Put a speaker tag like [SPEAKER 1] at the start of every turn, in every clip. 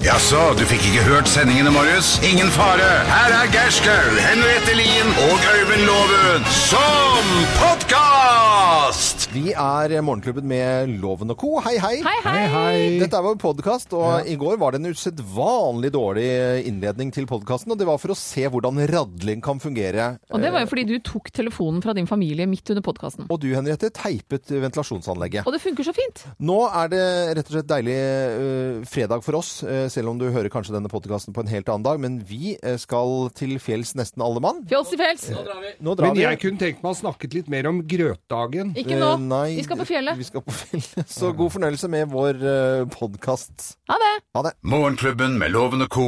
[SPEAKER 1] Jaså, du fikk ikke hørt sendingene, Marius? Ingen fare. Her er Gerskaug, Henriette Lien og Øyvind Loven som podkast!
[SPEAKER 2] Vi er Morgenklubben med Loven og co. Hei, hei.
[SPEAKER 3] Hei, hei!
[SPEAKER 2] Dette er vår podkast, og i går var det en usedvanlig dårlig eh, innledning til podkasten. Og det var for å se hvordan radling kan fungere.
[SPEAKER 3] Og det var jo fordi du tok telefonen fra din familie midt under podkasten.
[SPEAKER 2] Og du, Henriette, teipet ventilasjonsanlegget.
[SPEAKER 3] Og det funker så fint!
[SPEAKER 2] Nå er det rett og slett deilig eh, fredag for oss, eh, selv om du hører kanskje denne podkasten på en helt annen dag. Men vi eh, skal til fjells nesten alle mann.
[SPEAKER 3] Fjols til fjells!
[SPEAKER 2] Nå drar
[SPEAKER 4] Men
[SPEAKER 2] vi.
[SPEAKER 4] jeg kunne tenkt meg å snakket litt mer om grøtdagen.
[SPEAKER 3] Ikke nå.
[SPEAKER 2] Eh, nei,
[SPEAKER 3] Vi skal på fjellet.
[SPEAKER 2] Vi skal på fjellet. Så god fornøyelse med vår eh, podkast.
[SPEAKER 3] Ha det!
[SPEAKER 2] Ha det.
[SPEAKER 1] Morgenklubben med Loven og co.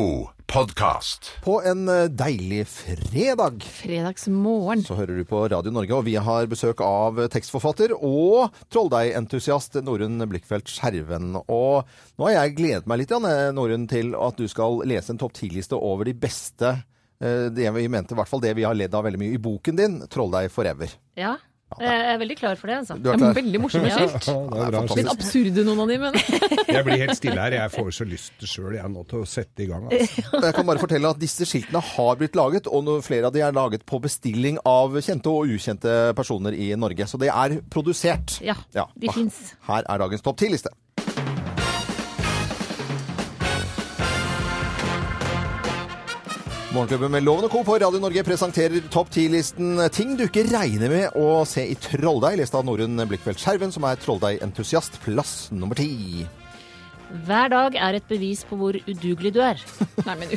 [SPEAKER 1] podkast.
[SPEAKER 2] På en eh, deilig fredag
[SPEAKER 3] Fredagsmorgen.
[SPEAKER 2] så hører du på Radio Norge, og vi har besøk av tekstforfatter og trolldeigentusiast Norunn Blikkfeldt Skjerven. Og nå har jeg gledet meg litt, Janne, Norunn, til at du skal lese en topp 10-liste over de beste eh, det vi mente, i hvert fall det vi har ledd av veldig mye i boken din, 'Trolldeig forever'.
[SPEAKER 5] Ja, jeg er veldig klar for det, altså.
[SPEAKER 2] Du er
[SPEAKER 3] Det er
[SPEAKER 2] klar?
[SPEAKER 3] veldig morsomme skilt.
[SPEAKER 4] Ja, det er bra.
[SPEAKER 3] Litt
[SPEAKER 4] Skilt.
[SPEAKER 3] absurde, noen av de, men
[SPEAKER 4] Jeg blir helt stille her. Jeg får så lyst sjøl jeg nå til å sette i gang. Altså.
[SPEAKER 2] Jeg kan bare fortelle at disse skiltene har blitt laget, og noe- flere av de er laget på bestilling av kjente og ukjente personer i Norge. Så det er produsert.
[SPEAKER 5] Ja, de
[SPEAKER 2] Ah,
[SPEAKER 5] fins.
[SPEAKER 2] Her er dagens topp 10-liste. Morgenklubben med Loven og Co. på Radio Norge presenterer topp 10-listen ting du ikke regner med å se i Trolldeig, lest av Norunn Blikkfeldt Skjerven, som er Trolldeig-entusiast, plass nummer ti.
[SPEAKER 5] Hver dag er et bevis på hvor udugelig du er.
[SPEAKER 3] Nei, men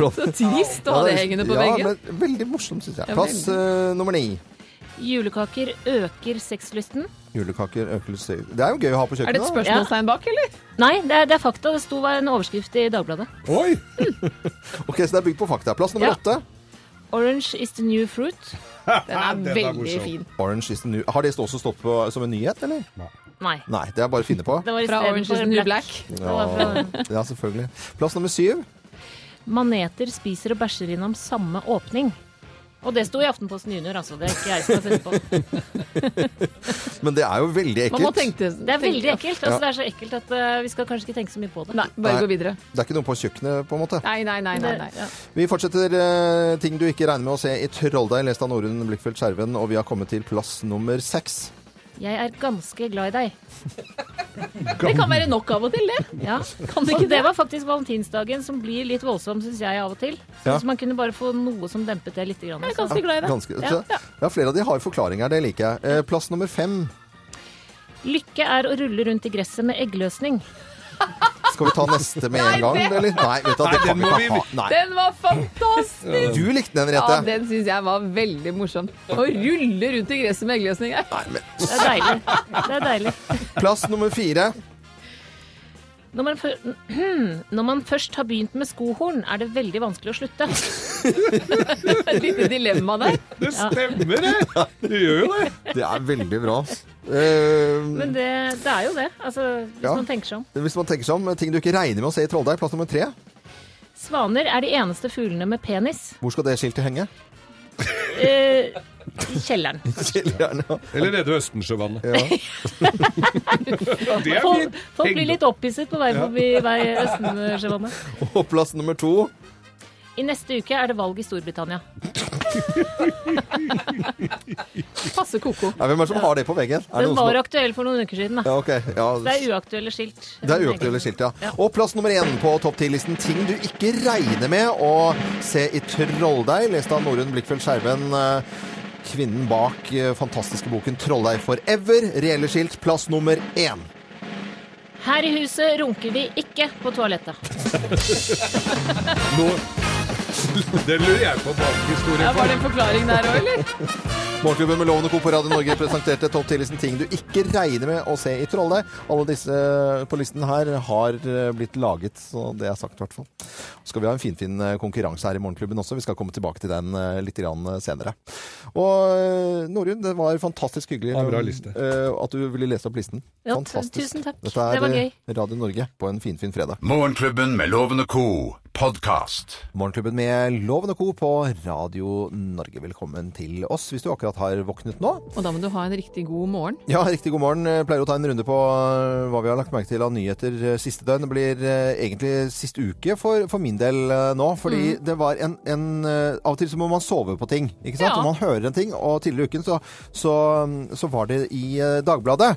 [SPEAKER 2] Så
[SPEAKER 3] trist å ha det hengende på
[SPEAKER 2] ja,
[SPEAKER 3] veggen.
[SPEAKER 2] Men veldig morsomt, syns jeg.
[SPEAKER 3] Ja,
[SPEAKER 2] Plass eh, nummer ni.
[SPEAKER 5] Julekaker øker sexlysten.
[SPEAKER 2] Julekaker, økelse Det er jo gøy å ha på
[SPEAKER 3] Er
[SPEAKER 2] kjøkkenet.
[SPEAKER 3] det et
[SPEAKER 2] da.
[SPEAKER 3] spørsmålstegn bak, eller?
[SPEAKER 5] Nei, det er, det er fakta. Det sto en overskrift i Dagbladet.
[SPEAKER 4] Oi!
[SPEAKER 2] Ok, Så det er bygd på fakta. Plass nummer
[SPEAKER 5] Ja.
[SPEAKER 2] åtte.
[SPEAKER 5] Orange is the new fruit.
[SPEAKER 3] Den
[SPEAKER 4] Den
[SPEAKER 3] er
[SPEAKER 4] er
[SPEAKER 3] veldig
[SPEAKER 4] morsom.
[SPEAKER 3] fin.
[SPEAKER 2] Orange is the new Har det også stått på som en nyhet, eller?
[SPEAKER 5] Nei.
[SPEAKER 2] Nei, det er bare å finne på.
[SPEAKER 5] Det var
[SPEAKER 3] Fra
[SPEAKER 5] isteden
[SPEAKER 3] Orange is
[SPEAKER 5] for
[SPEAKER 3] the New Black.
[SPEAKER 5] Det
[SPEAKER 2] Ja,
[SPEAKER 5] var fra
[SPEAKER 2] ja, selvfølgelig. Plass nummer syv.
[SPEAKER 5] Maneter spiser og bæsjer innom samme åpning. Og det sto i Aftenposten Junior, altså. Det er ikke jeg som har funnet på.
[SPEAKER 2] Men det er jo veldig
[SPEAKER 3] Man må
[SPEAKER 2] ekkelt.
[SPEAKER 3] tenke
[SPEAKER 5] Det er veldig ekkelt.
[SPEAKER 2] Ja.
[SPEAKER 5] Altså, det er så ekkelt at eh, vi skal kanskje ikke tenke så mye på det.
[SPEAKER 3] Nei, bare gå videre.
[SPEAKER 2] Det er ikke noe på kjøkkenet, på en måte.
[SPEAKER 3] Nei, nei, nei. nei, nei.
[SPEAKER 5] Det- ja.
[SPEAKER 2] Vi fortsetter eh, ting du ikke regner med å se i Trolldeig, lest av Norunn Blikkfeldt Skjerven, og vi har kommet til plass nummer seks.
[SPEAKER 5] Jeg er ganske glad i deg.
[SPEAKER 3] Det kan være nok av og til, det.
[SPEAKER 5] Ja.
[SPEAKER 3] Kan det
[SPEAKER 5] Og
[SPEAKER 3] ikke
[SPEAKER 5] det
[SPEAKER 3] det?
[SPEAKER 5] var faktisk valentinsdagen, som blir litt voldsom, syns jeg, av og til. Så
[SPEAKER 2] Ja.
[SPEAKER 5] Hvis man kunne bare få noe som dempet det litt. Grann,
[SPEAKER 3] Jeg er
[SPEAKER 5] altså.
[SPEAKER 3] ganske glad i det.
[SPEAKER 2] Ganske,
[SPEAKER 5] Ja,
[SPEAKER 2] ja. flere av de har forklaringer, det liker jeg. Eh, Plass nummer fem.
[SPEAKER 5] Lykke er å rulle rundt i gresset med eggløsning.
[SPEAKER 2] Skal vi ta neste med en gang,
[SPEAKER 3] det-
[SPEAKER 2] eller? Nei, vet du, hva, det
[SPEAKER 4] Nei,
[SPEAKER 2] kan
[SPEAKER 4] den
[SPEAKER 2] vi
[SPEAKER 4] må
[SPEAKER 2] ikke ha.
[SPEAKER 4] vi-
[SPEAKER 2] Nei.
[SPEAKER 3] Den var fantastisk!
[SPEAKER 2] Du likte den,
[SPEAKER 3] Ja,
[SPEAKER 2] Rete.
[SPEAKER 3] den syns jeg var veldig morsom. Å rulle rundt i gresset med eggløsning her.
[SPEAKER 2] Nei, men
[SPEAKER 5] Det er deilig. Det er deilig.
[SPEAKER 2] Plass nummer fire.
[SPEAKER 5] Når man, fø- Når man først har begynt med skohorn, er det veldig vanskelig å slutte.
[SPEAKER 3] Et lite dilemma der.
[SPEAKER 4] Det stemmer, det! Du gjør jo det.
[SPEAKER 2] Det er veldig bra. ass. Eh,
[SPEAKER 5] Men det, det er jo det, altså, hvis
[SPEAKER 2] Ja.
[SPEAKER 5] man tenker seg om.
[SPEAKER 2] hvis man tenker seg om, ting du ikke regner med å se i Trolldeig, plass nummer tre.
[SPEAKER 5] Svaner er de eneste fuglene med penis.
[SPEAKER 2] Hvor skal det skiltet henge?
[SPEAKER 5] Eh, I kjelleren.
[SPEAKER 2] Kjelleren, ja.
[SPEAKER 4] Eller nede ved Østensjøvannet. Det er
[SPEAKER 5] Folk,
[SPEAKER 4] fint.
[SPEAKER 5] folk blir litt opphisset på vei forbi vei Østensjøvannet.
[SPEAKER 2] Og plass nummer to.
[SPEAKER 5] I neste uke er det valg i Storbritannia.
[SPEAKER 3] Passe koko.
[SPEAKER 2] Nei, hvem er det som har det på veggen? Er det
[SPEAKER 5] Den
[SPEAKER 2] noen som-
[SPEAKER 5] var aktuell for noen uker siden. Da.
[SPEAKER 2] ja, ok. ja.
[SPEAKER 5] Det er uaktuelle skilt.
[SPEAKER 2] Det er uaktuelle skilt, ja. Og plass nummer én på topp ti-listen. Ting du ikke regner med å se i Trolldeig, lest av Norunn Blikkfeldt Skjerven. eh, Kvinnen bak eh, fantastiske boken 'Trolldeig forever'. Reelle skilt, plass nummer én.
[SPEAKER 5] Her i huset runker vi ikke på toalettet.
[SPEAKER 4] Nå, den lurer jeg på bakhistorien
[SPEAKER 3] Ja, var
[SPEAKER 4] for.
[SPEAKER 3] det en forklaring der òg, eller?
[SPEAKER 2] Morgenklubben med Loven og Co. på Radio Norge presenterte topp 10-listen ting du ikke regner med å se i Trolldeig. Alle disse eh, på listen her har eh, blitt laget, så det er sagt i hvert fall. Så skal vi ha en finfin eh, konkurranse her i Morgenklubben også. Vi skal komme tilbake til den eh, litt grann eh, senere. Og eh, Norun, det var fantastisk hyggelig
[SPEAKER 4] Ja, bra liste.
[SPEAKER 2] eh, at du ville lese opp listen.
[SPEAKER 5] Ja, t- tusen takk.
[SPEAKER 2] Dette er
[SPEAKER 5] Det var
[SPEAKER 2] eh, Radio Norge på en finfin fredag.
[SPEAKER 1] Morgenklubben med Loven og co. podkast.
[SPEAKER 2] Morgenklubben med Loven og Co. på Radio Norge. Velkommen til oss hvis du akkurat akkurat har våknet nå.
[SPEAKER 3] Og da må du ha en riktig god morgen.
[SPEAKER 2] Ja, riktig god morgen. Jeg Pleier å ta en runde på eh, hva vi har lagt merke til av nyheter eh, siste døgn. Det blir eh, egentlig siste uke for, for min del eh, nå. Fordi det var en, en eh, Av og til så må man sove på ting. ikke sant?
[SPEAKER 5] Ja.
[SPEAKER 2] Når man hører en ting. Og tidligere i uken så, så, mm, så var det i eh, Dagbladet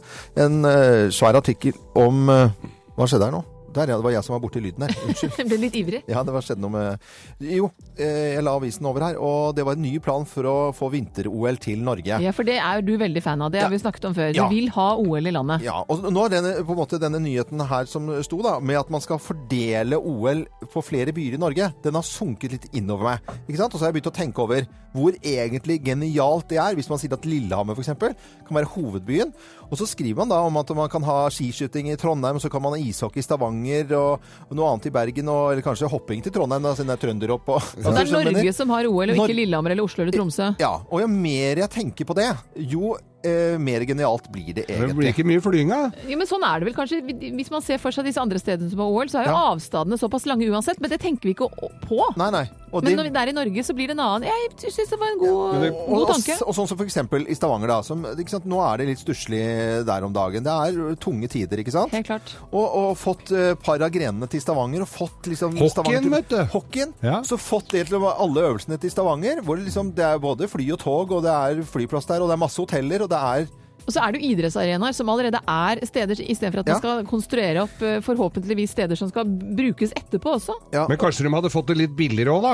[SPEAKER 2] en eh, svær artikkel om eh, Hva skjedde her nå? Der, ja. Det var jeg som var borti lyden her. Unnskyld.
[SPEAKER 3] Jeg ble litt ivrig.
[SPEAKER 2] Ja, det var skjedd noe med Jo, eh, jeg la avisen over her, og det var en ny plan for å få vinter-OL til Norge.
[SPEAKER 3] Ja, for det er jo du veldig fan av. Det har vi snakket om før. Du
[SPEAKER 2] Ja.
[SPEAKER 3] vil ha OL i landet.
[SPEAKER 2] Ja, og nå er denne, på en måte, denne nyheten her som sto da, med at man skal fordele OL på flere byer i Norge, den har sunket litt innover meg. Ikke sant? Og så har jeg begynt å tenke over hvor egentlig genialt det er, hvis man sier at Lillehammer for eksempel, kan være hovedbyen. Og så skriver man da om at man kan ha skiskyting i Trondheim, og så kan man ha ishockey i Stavanger, og, og noe annet i Bergen, og, eller kanskje hopping til Trondheim, da, siden det er trønder opp. Og,
[SPEAKER 3] Så det
[SPEAKER 2] Altså,
[SPEAKER 3] er
[SPEAKER 2] skjønner du hva jeg mener?
[SPEAKER 3] Norge som har OL, og
[SPEAKER 2] Nor-
[SPEAKER 3] ikke Lillehammer eller Oslo eller Tromsø.
[SPEAKER 2] Ja, og jo mer jeg tenker på det, jo eh, mer genialt blir det
[SPEAKER 4] Det blir
[SPEAKER 2] egentlig.
[SPEAKER 4] ikke mye flyginga.
[SPEAKER 3] Ja, men sånn er det vel kanskje. Hvis man ser for seg disse andre stedene som har OL, så er jo
[SPEAKER 2] Ja.
[SPEAKER 3] avstandene såpass lange uansett. Men det tenker vi ikke å- på.
[SPEAKER 2] Nei, nei. Og
[SPEAKER 3] Men
[SPEAKER 2] det-
[SPEAKER 3] når det er i Norge, så blir det en annen. Jeg syns det var en god,
[SPEAKER 4] Men det-
[SPEAKER 3] god
[SPEAKER 2] og,
[SPEAKER 3] tanke.
[SPEAKER 2] og, og sånn som for eksempel i Stavanger da, som, ikke sant, nå er det litt stusslig der om dagen. Det er tunge tider, ikke sant?
[SPEAKER 3] Helt klart.
[SPEAKER 2] Og, og fått eh, par av grenene til Stavanger, og fått liksom
[SPEAKER 4] Hockeyen,
[SPEAKER 2] Stavanger,
[SPEAKER 4] vet du.
[SPEAKER 2] Hockeyen,
[SPEAKER 4] Ja.
[SPEAKER 2] så fått det til å være alle øvelsene til Stavanger, hvor liksom det er både fly og tog, og det er flyplass der, og det er masse hoteller, og det er
[SPEAKER 3] Og så er det jo idrettsarenaer som allerede er steder, istedenfor at
[SPEAKER 2] Ja.
[SPEAKER 3] man skal konstruere opp eh, forhåpentligvis steder som skal brukes etterpå også.
[SPEAKER 2] ja,
[SPEAKER 4] Men kanskje de hadde fått det litt billigere òg, da?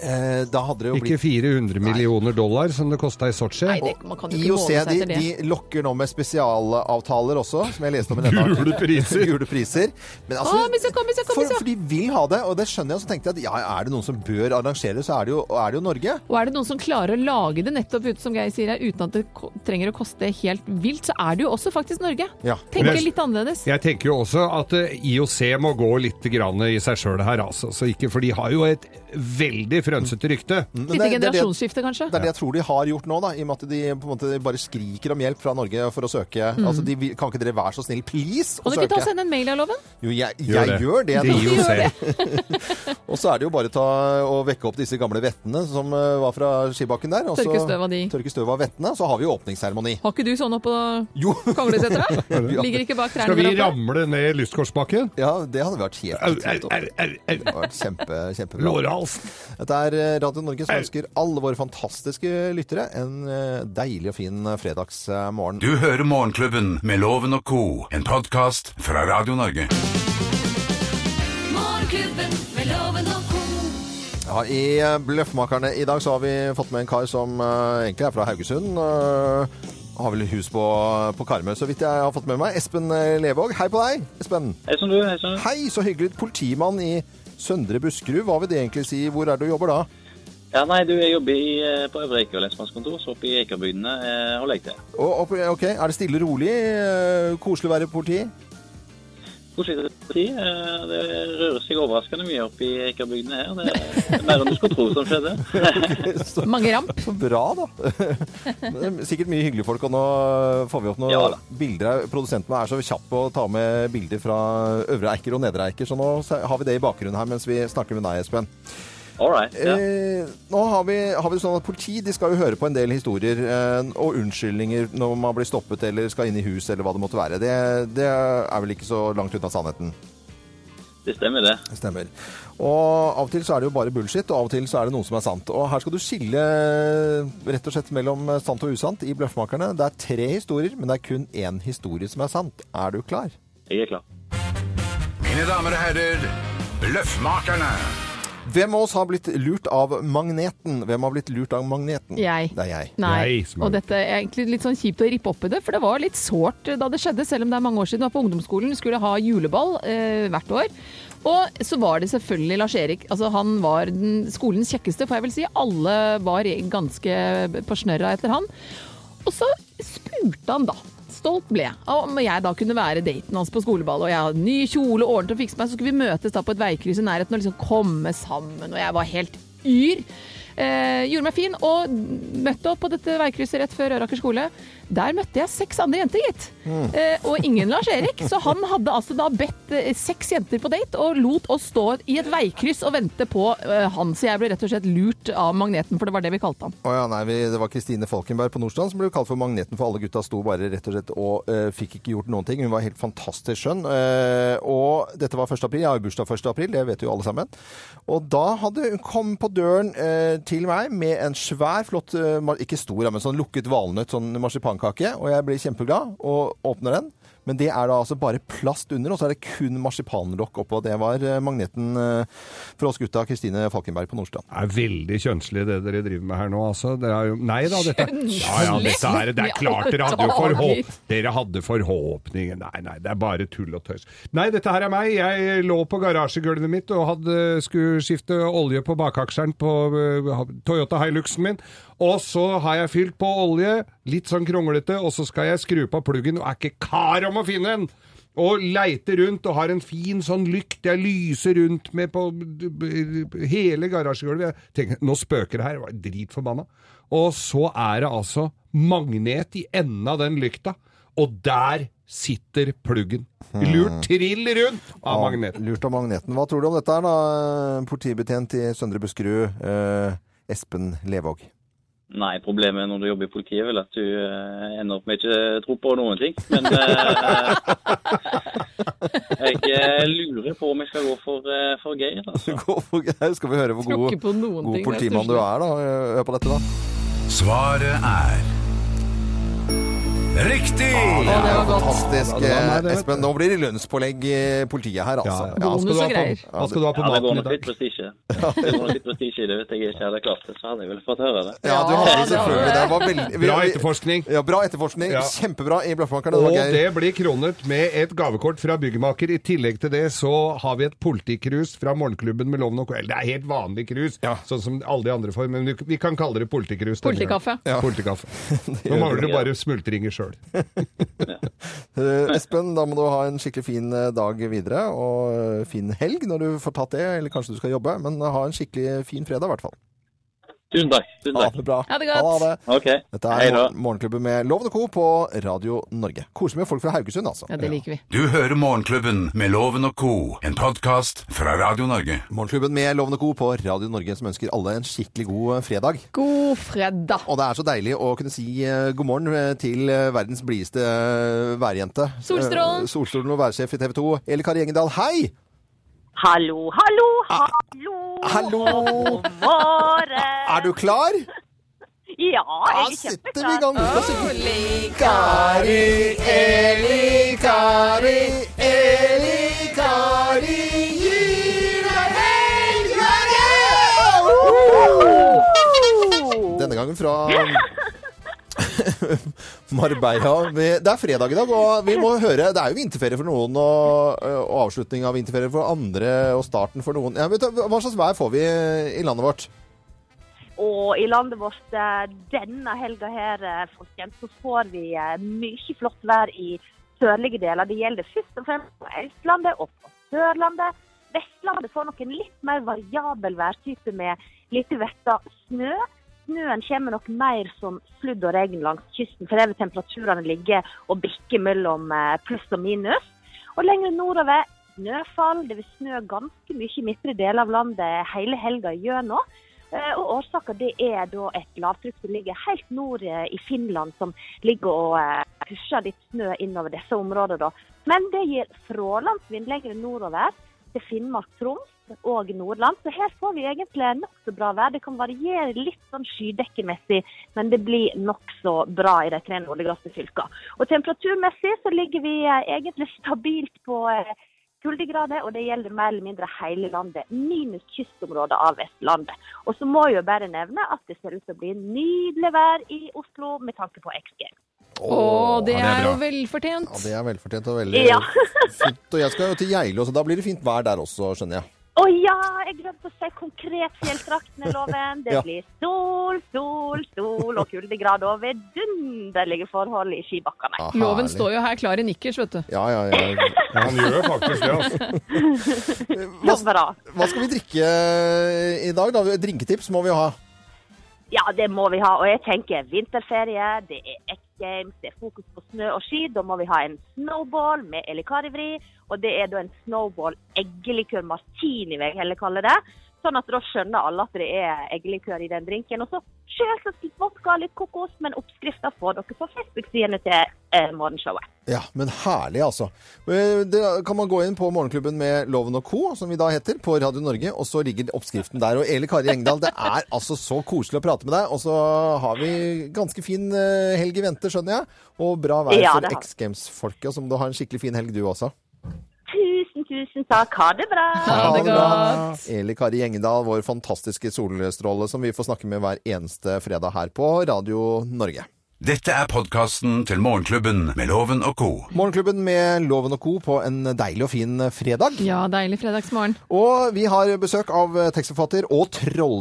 [SPEAKER 2] eh, da hadde det jo
[SPEAKER 4] Ikke
[SPEAKER 2] blitt
[SPEAKER 4] 400 millioner dollar som det kosta i Sotsji.
[SPEAKER 3] Nei, det, man kan jo ikke
[SPEAKER 2] IOC
[SPEAKER 3] måle seg
[SPEAKER 2] de,
[SPEAKER 3] etter det.
[SPEAKER 2] de lokker nå med spesialavtaler også, som jeg leste om i denne
[SPEAKER 4] Gule priser.
[SPEAKER 2] Gule priser. Men altså,
[SPEAKER 3] Å, Missa, kom, Missa, kom,
[SPEAKER 2] for,
[SPEAKER 3] Missa.
[SPEAKER 2] for de vil ha det, og det skjønner jeg. Og så tenkte jeg at ja, er det noen som bør arrangere, så er det jo, er det jo Norge.
[SPEAKER 3] Og er det noen som klarer å lage det nettopp ut, som Geir sier her, uten at det ko- trenger å koste helt vilt, så er det jo også faktisk Norge.
[SPEAKER 2] Ja.
[SPEAKER 3] Tenker
[SPEAKER 4] Men-
[SPEAKER 3] litt annerledes.
[SPEAKER 4] Jeg tenker jo også at eh, IOC må gå litt grann i seg sjøl her, altså. Så ikke, for de har jo et veldig frønsete rykte.
[SPEAKER 2] Mm. Men
[SPEAKER 3] Litt
[SPEAKER 2] det, det, er det,
[SPEAKER 3] generasjonsskifte, kanskje.
[SPEAKER 2] det er det jeg tror de har gjort nå, da, i og med at de på en måte bare skriker om hjelp fra Norge for å søke. Altså, de, vil- Kan ikke dere være så snill, please, å
[SPEAKER 3] Mm. Kan du ikke ta og
[SPEAKER 2] søke?
[SPEAKER 3] sende en mail av loven?
[SPEAKER 2] Jo, jeg, jeg gjør det.
[SPEAKER 4] Til
[SPEAKER 2] nå.
[SPEAKER 4] IOC.
[SPEAKER 2] Og så er det jo bare ta og vekke opp disse gamle vettene som eh, var fra skibakken der. og så-
[SPEAKER 3] Tørke støv av de.
[SPEAKER 2] Tørke støv av vettene. Så har vi jo åpningsseremoni.
[SPEAKER 3] Har ikke du sånn oppå
[SPEAKER 2] Jo,
[SPEAKER 3] konglesetra? Ligger ikke bak trærne
[SPEAKER 4] Skal vi
[SPEAKER 3] der oppe?
[SPEAKER 4] ramle ned lystgårdsbakken?
[SPEAKER 2] ja, det hadde vært helt
[SPEAKER 4] Au,
[SPEAKER 2] utrolig.
[SPEAKER 4] au, au, au,
[SPEAKER 2] Det
[SPEAKER 4] au.
[SPEAKER 2] hadde vært kjempe, kjempebra.
[SPEAKER 4] Lårhalsen.
[SPEAKER 2] Dette er eh, Radio Norge som ønsker alle våre fantastiske lyttere en eh, deilig og fin fredagsmorgen.
[SPEAKER 1] Du hører Morgenklubben med Loven og Co., en podkast fra Radio Norge.
[SPEAKER 6] Morgenklubben med loven og ko.
[SPEAKER 2] Ja, I eh, Bløffmakerne i dag så har vi fått med en kar som eh, egentlig er fra Haugesund. eh, Har vel hus på, på Karmøy, så vidt jeg har fått med meg. Espen eh, Levåg, hei på deg. Espen.
[SPEAKER 7] Hei sann, du. Hei sann.
[SPEAKER 2] Hei, så hyggelig. Politimann i Søndre Buskerud, hva vil det egentlig si? Hvor er det du jobber da?
[SPEAKER 7] Ja, nei, du, jeg jobber i, eh, på Øvre Eiker lensmannskontor, så oppe i Eikerbygdene eh, holder jeg til.
[SPEAKER 2] Og, og, ok, er det stille og rolig? eh, Koselig å være politi?
[SPEAKER 7] Koselig tid. Eh, det rører seg overraskende mye oppe i Eikerbygdene her. Det er mer enn du skulle tro som skjedde.
[SPEAKER 2] Så
[SPEAKER 3] Mange ramp.
[SPEAKER 2] Så bra, da. Men det er Sikkert mye hyggelige folk. Og nå får vi opp noen
[SPEAKER 7] Ja da.
[SPEAKER 2] bilder. Produsenten er så kjapp på å ta med bilder fra Øvre Eiker og Nedre Eiker, så nå har vi det i bakgrunnen her mens vi snakker med deg, Espen.
[SPEAKER 7] All right. Ja.
[SPEAKER 2] Eh, nå har vi, har vi det sånn at politi de skal jo høre på en del historier eh, og unnskyldninger når man blir stoppet eller skal inn i hus eller hva det måtte være. Det, det er vel ikke så langt unna sannheten?
[SPEAKER 7] Det stemmer, det.
[SPEAKER 2] Stemmer. Og av og til så er det jo bare bullshit, og av og til så er det noe som er sant. Og her skal du skille rett og slett mellom sant og usant i Bløffmakerne. Det er tre historier, men det er kun én historie som er sant. Er du klar?
[SPEAKER 7] Jeg er klar.
[SPEAKER 1] Mine damer og herrer, Bløffmakerne.
[SPEAKER 2] Hvem av oss har blitt lurt av magneten? Hvem har blitt lurt av magneten?
[SPEAKER 3] Jeg.
[SPEAKER 2] Det er jeg.
[SPEAKER 3] Nei.
[SPEAKER 4] Nei, som er-
[SPEAKER 3] Og dette er egentlig litt sånn kjipt å rippe opp i det, for det var litt sårt da det skjedde, selv om det er mange år siden. Jeg var på ungdomsskolen, skulle ha juleball eh, hvert år. Og så var det selvfølgelig Lars-Erik. Altså, han var den, skolens kjekkeste, får jeg vel si. Alle var ganske på snørra etter han. Og så spurte han da, stolt ble jeg, om jeg da kunne være daten hans på skoleball, og jeg hadde ny kjole, ordnet og fikset meg, så skulle vi møtes da på et veikryss i nærheten og liksom komme sammen, og jeg var helt yr. Eh, gjorde meg fin og møtte opp på dette veikrysset rett før Øraker skole. Der møtte jeg seks andre jenter, gitt. Eh, og ingen Lars Erik. Så han hadde altså da bedt eh, seks jenter på date, og lot oss stå i et veikryss og vente på eh, han. Så jeg ble rett og slett lurt av magneten, for det var det vi kalte han.
[SPEAKER 2] Å ja, nei, vi, Det var Kristine Falkenberg på Nordstrand som ble kalt for Magneten, for alle gutta sto bare rett og slett og eh, fikk ikke gjort noen ting. Hun var helt fantastisk skjønn. Eh, og dette var 1. april. Jeg har jo bursdag 1. april, det vet jo alle sammen. Og da hadde hun kom på døren eh, til meg med en svær, flott eh, mar- Ikke stor, ja, men sånn lukket valnøtt, sånn marsipankake. Og jeg blir kjempeglad og åpner den. Men det er da altså bare plast under, og så er det kun marsipanlokk oppå. Det var eh, magneten eh, for oss gutta, Kristine Falkenberg på Nordstrand.
[SPEAKER 4] Det er veldig kjønnslig det dere driver med her nå, altså. Det er jo, nei da, dette ja, ja, dette er, Det er klart dere hadde jo forhåp, dere hadde forhåpninger. Nei, nei, det er bare tull og tøys. Nei, dette her er meg. Jeg lå på garasjegulvet mitt og hadde, skulle skifte olje på bakaksjeren på eh, Toyota Hiluxen min. Og så har jeg fylt på olje, litt sånn kronglete, og så skal jeg skru på pluggen, og er ikke kar om å finne en! og leiter rundt og har en fin sånn lykt jeg lyser rundt med på b- b- hele garasjegulvet. Jeg tenker, nå spøker det her, jeg var dritforbanna. Og så er det altså magnet i enden av den lykta, og der sitter pluggen. Lurt trill rundt av magneten.
[SPEAKER 2] Lurt av magneten. Hva tror du om dette her, da? eh, Politibetjent i Søndre Buskerud, eh, Espen Levåg.
[SPEAKER 7] Nei, problemet når du jobber i politiet, er vel at du eh, ender opp med ikke tro på noen ting. Men eh, jeg eh, lurer på om jeg skal gå for, eh, for Geir. Altså.
[SPEAKER 2] Her skal vi høre hvor
[SPEAKER 3] Tror
[SPEAKER 2] god,
[SPEAKER 3] ikke på noen
[SPEAKER 2] god
[SPEAKER 3] ting,
[SPEAKER 2] politimann du er, da. Hør på dette, da.
[SPEAKER 1] Svaret er Riktig!
[SPEAKER 3] Og det var godt.
[SPEAKER 2] Fantastisk. eh,
[SPEAKER 4] Ja, det var meg, det, vet du.
[SPEAKER 2] Espen, nå blir det lønnspålegg i politiet her, altså.
[SPEAKER 4] Hva skal
[SPEAKER 3] Bonus
[SPEAKER 4] du ha
[SPEAKER 3] og
[SPEAKER 4] på,
[SPEAKER 3] greier.
[SPEAKER 4] hva skal du ha på
[SPEAKER 7] Ja,
[SPEAKER 4] maten
[SPEAKER 7] det går
[SPEAKER 4] i
[SPEAKER 7] nok litt
[SPEAKER 4] dag?
[SPEAKER 7] prestisje. Det går nok litt prestisje i det. Hvis jeg ikke hadde klart det, så hadde jeg vel fått høre det.
[SPEAKER 2] Ja, du hadde
[SPEAKER 3] Ja,
[SPEAKER 2] jo selvfølgelig det. Var veldig, vi-
[SPEAKER 4] Bra
[SPEAKER 2] vi-
[SPEAKER 4] etterforskning.
[SPEAKER 2] Ja, bra etterforskning.
[SPEAKER 4] Ja.
[SPEAKER 2] Kjempebra i Bløffmakerne. Det
[SPEAKER 4] Og
[SPEAKER 2] var Geir.
[SPEAKER 4] det blir kronet med et gavekort fra byggmaker. I tillegg til det så har vi et politikrus fra morgenklubben med Loven og Kveld. Det er helt vanlig krus, sånn som alle de andre får, men vi- vi kan kalle det politikrus. denne
[SPEAKER 3] Politikaffe.
[SPEAKER 4] gangen. Politikaffe. Nå mangler du bare smultringer sjøl.
[SPEAKER 2] Eh, Espen, da må du ha en skikkelig fin eh, dag videre, og eh, fin helg når du får tatt det, eller kanskje du skal jobbe, men eh, ha en skikkelig fin fredag, i hvert fall.
[SPEAKER 7] Tusen takk. Tusen
[SPEAKER 2] Ha
[SPEAKER 7] takk.
[SPEAKER 2] det bra.
[SPEAKER 3] Ha det godt.
[SPEAKER 2] Ha det.
[SPEAKER 7] OK.
[SPEAKER 2] Dette
[SPEAKER 7] Hei
[SPEAKER 2] er
[SPEAKER 7] da.
[SPEAKER 2] Mor- Morgenklubben med Loven og Co. på Radio Norge. Koselig med folk fra Haugesund, altså.
[SPEAKER 3] Ja, det liker vi.
[SPEAKER 1] Du hører Morgenklubben med Loven og co., en podkast fra Radio Norge.
[SPEAKER 2] Morgenklubben med Loven og Co. på Radio Norge som ønsker alle en skikkelig god eh, fredag.
[SPEAKER 3] God fredag.
[SPEAKER 2] Og det er så deilig å kunne si eh, god morgen eh, til eh, verdens blideste eh, værjente.
[SPEAKER 3] Solstrålen.
[SPEAKER 2] Eh, Solstrålen og værsjef i TV 2, Elle Kari Engedal. Hei! Ah,
[SPEAKER 8] Hallo, hallo, hallo!
[SPEAKER 2] Hallo!
[SPEAKER 8] God morgen!
[SPEAKER 2] Er du klar?
[SPEAKER 8] Ja,
[SPEAKER 2] Da
[SPEAKER 8] jeg er
[SPEAKER 2] setter vi i
[SPEAKER 8] kjempeklar.
[SPEAKER 2] gang. Vi skal synge. Kari, Eli, Kari, Eli, Kari gir deg Denne gangen fra Marbella. Vi- Det er fredag i dag, og vi må høre Det er jo vinterferie for noen, og, og avslutning av vinterferie for andre, og starten for noen. Ja, vet du, hva slags vær får vi i landet vårt?
[SPEAKER 8] Og i landet vårt eh, denne helga her, eh, folkens, så får vi eh, mye flott vær i sørlige deler. Det gjelder først og fremst på Østlandet og på Sørlandet. Vestlandet får nok en litt mer variabel værtype med lite vetta snø. Snøen kommer nok mer som sludd og regn langs kysten, for der vil temperaturene ligge og bikke mellom eh, pluss og minus. Og lenger nordover snøfall. Det vil snø ganske mye i midtre deler av landet hele helga gjennom. Eh, Og årsaken det er da et lavtrykk som ligger helt nord eh, i Finland, som ligger og eh, pusher litt snø innover disse områdene. da. Men det gir frålandsvind lenger nordover til Finnmark, Troms og Nordland. Så her får vi egentlig nokså bra vær. Det kan variere litt sånn skydekkemessig, men det blir nokså bra i de tre nordligste fylkene. Og temperaturmessig så ligger vi eh, egentlig stabilt på eh, kuldegrader, og det gjelder mer eller mindre hele landet, minus kystområdet av Vestlandet. Og så må jeg jo bare nevne at det ser ut til å bli nydelig vær i Oslo med tanke på XG.
[SPEAKER 3] Å, det
[SPEAKER 4] ja, det er
[SPEAKER 3] er jo
[SPEAKER 4] bra.
[SPEAKER 3] velfortjent.
[SPEAKER 2] Ja, det er velfortjent og veldig
[SPEAKER 8] Ja.
[SPEAKER 2] fint. Og jeg skal jo til Geilo, så da blir det fint vær der også, skjønner jeg.
[SPEAKER 8] Å ja, jeg glemte å si konkret fjelltraktene, Loven. Det
[SPEAKER 2] Ja.
[SPEAKER 8] blir sol, sol, sol og kuldegrad og vidunderlige forhold i skibakkene.
[SPEAKER 2] Ja,
[SPEAKER 3] Loven
[SPEAKER 2] herlig.
[SPEAKER 3] står jo her klar i nikkers, vet du.
[SPEAKER 2] Ja, ja, ja.
[SPEAKER 4] Han gjør faktisk det, altså.
[SPEAKER 8] Så bra.
[SPEAKER 2] Hva skal vi drikke eh, i dag, da? Drinketips må vi jo ha.
[SPEAKER 8] Ja, det må vi ha. Og jeg tenker vinterferie, det er Games, det er fokus på snø og ski. Da må vi ha en snowball med elikarivri, og det er da en snowball eggelikør martini, vil jeg heller kalle det. Sånn at da skjønner alle at det er eggelikør i den drinken. Og så selvsagt litt vodka, litt kokos, men oppskrifta får dere på Facebook-sidene til eh, morgenshowet.
[SPEAKER 2] Ja, men herlig, altså. Eh, Det kan man gå inn på Morgenklubben med Loven og Co., som vi da heter, på Radio Norge, og så ligger oppskriften der. Og Eli Kari Engdahl, det er altså så koselig å prate med deg. Og så har vi ganske fin eh, helg i vente, skjønner jeg. Og bra vær
[SPEAKER 8] Ja, det
[SPEAKER 2] for
[SPEAKER 8] har vi.
[SPEAKER 2] X Games-folket. Og så må du ha en skikkelig fin helg, du også.
[SPEAKER 8] Tusen, tusen takk. Ha det bra.
[SPEAKER 3] Ha det godt.
[SPEAKER 2] Eli Kari Engdahl, vår fantastiske solstråle som vi får snakke med hver eneste fredag her på Radio Norge.
[SPEAKER 1] Dette er podkasten til Morgenklubben med Loven og co.
[SPEAKER 2] Morgenklubben med Loven og Co. på en deilig og fin fredag.
[SPEAKER 3] Ja, deilig fredagsmorgen.
[SPEAKER 2] Og vi har besøk av tekstforfatter og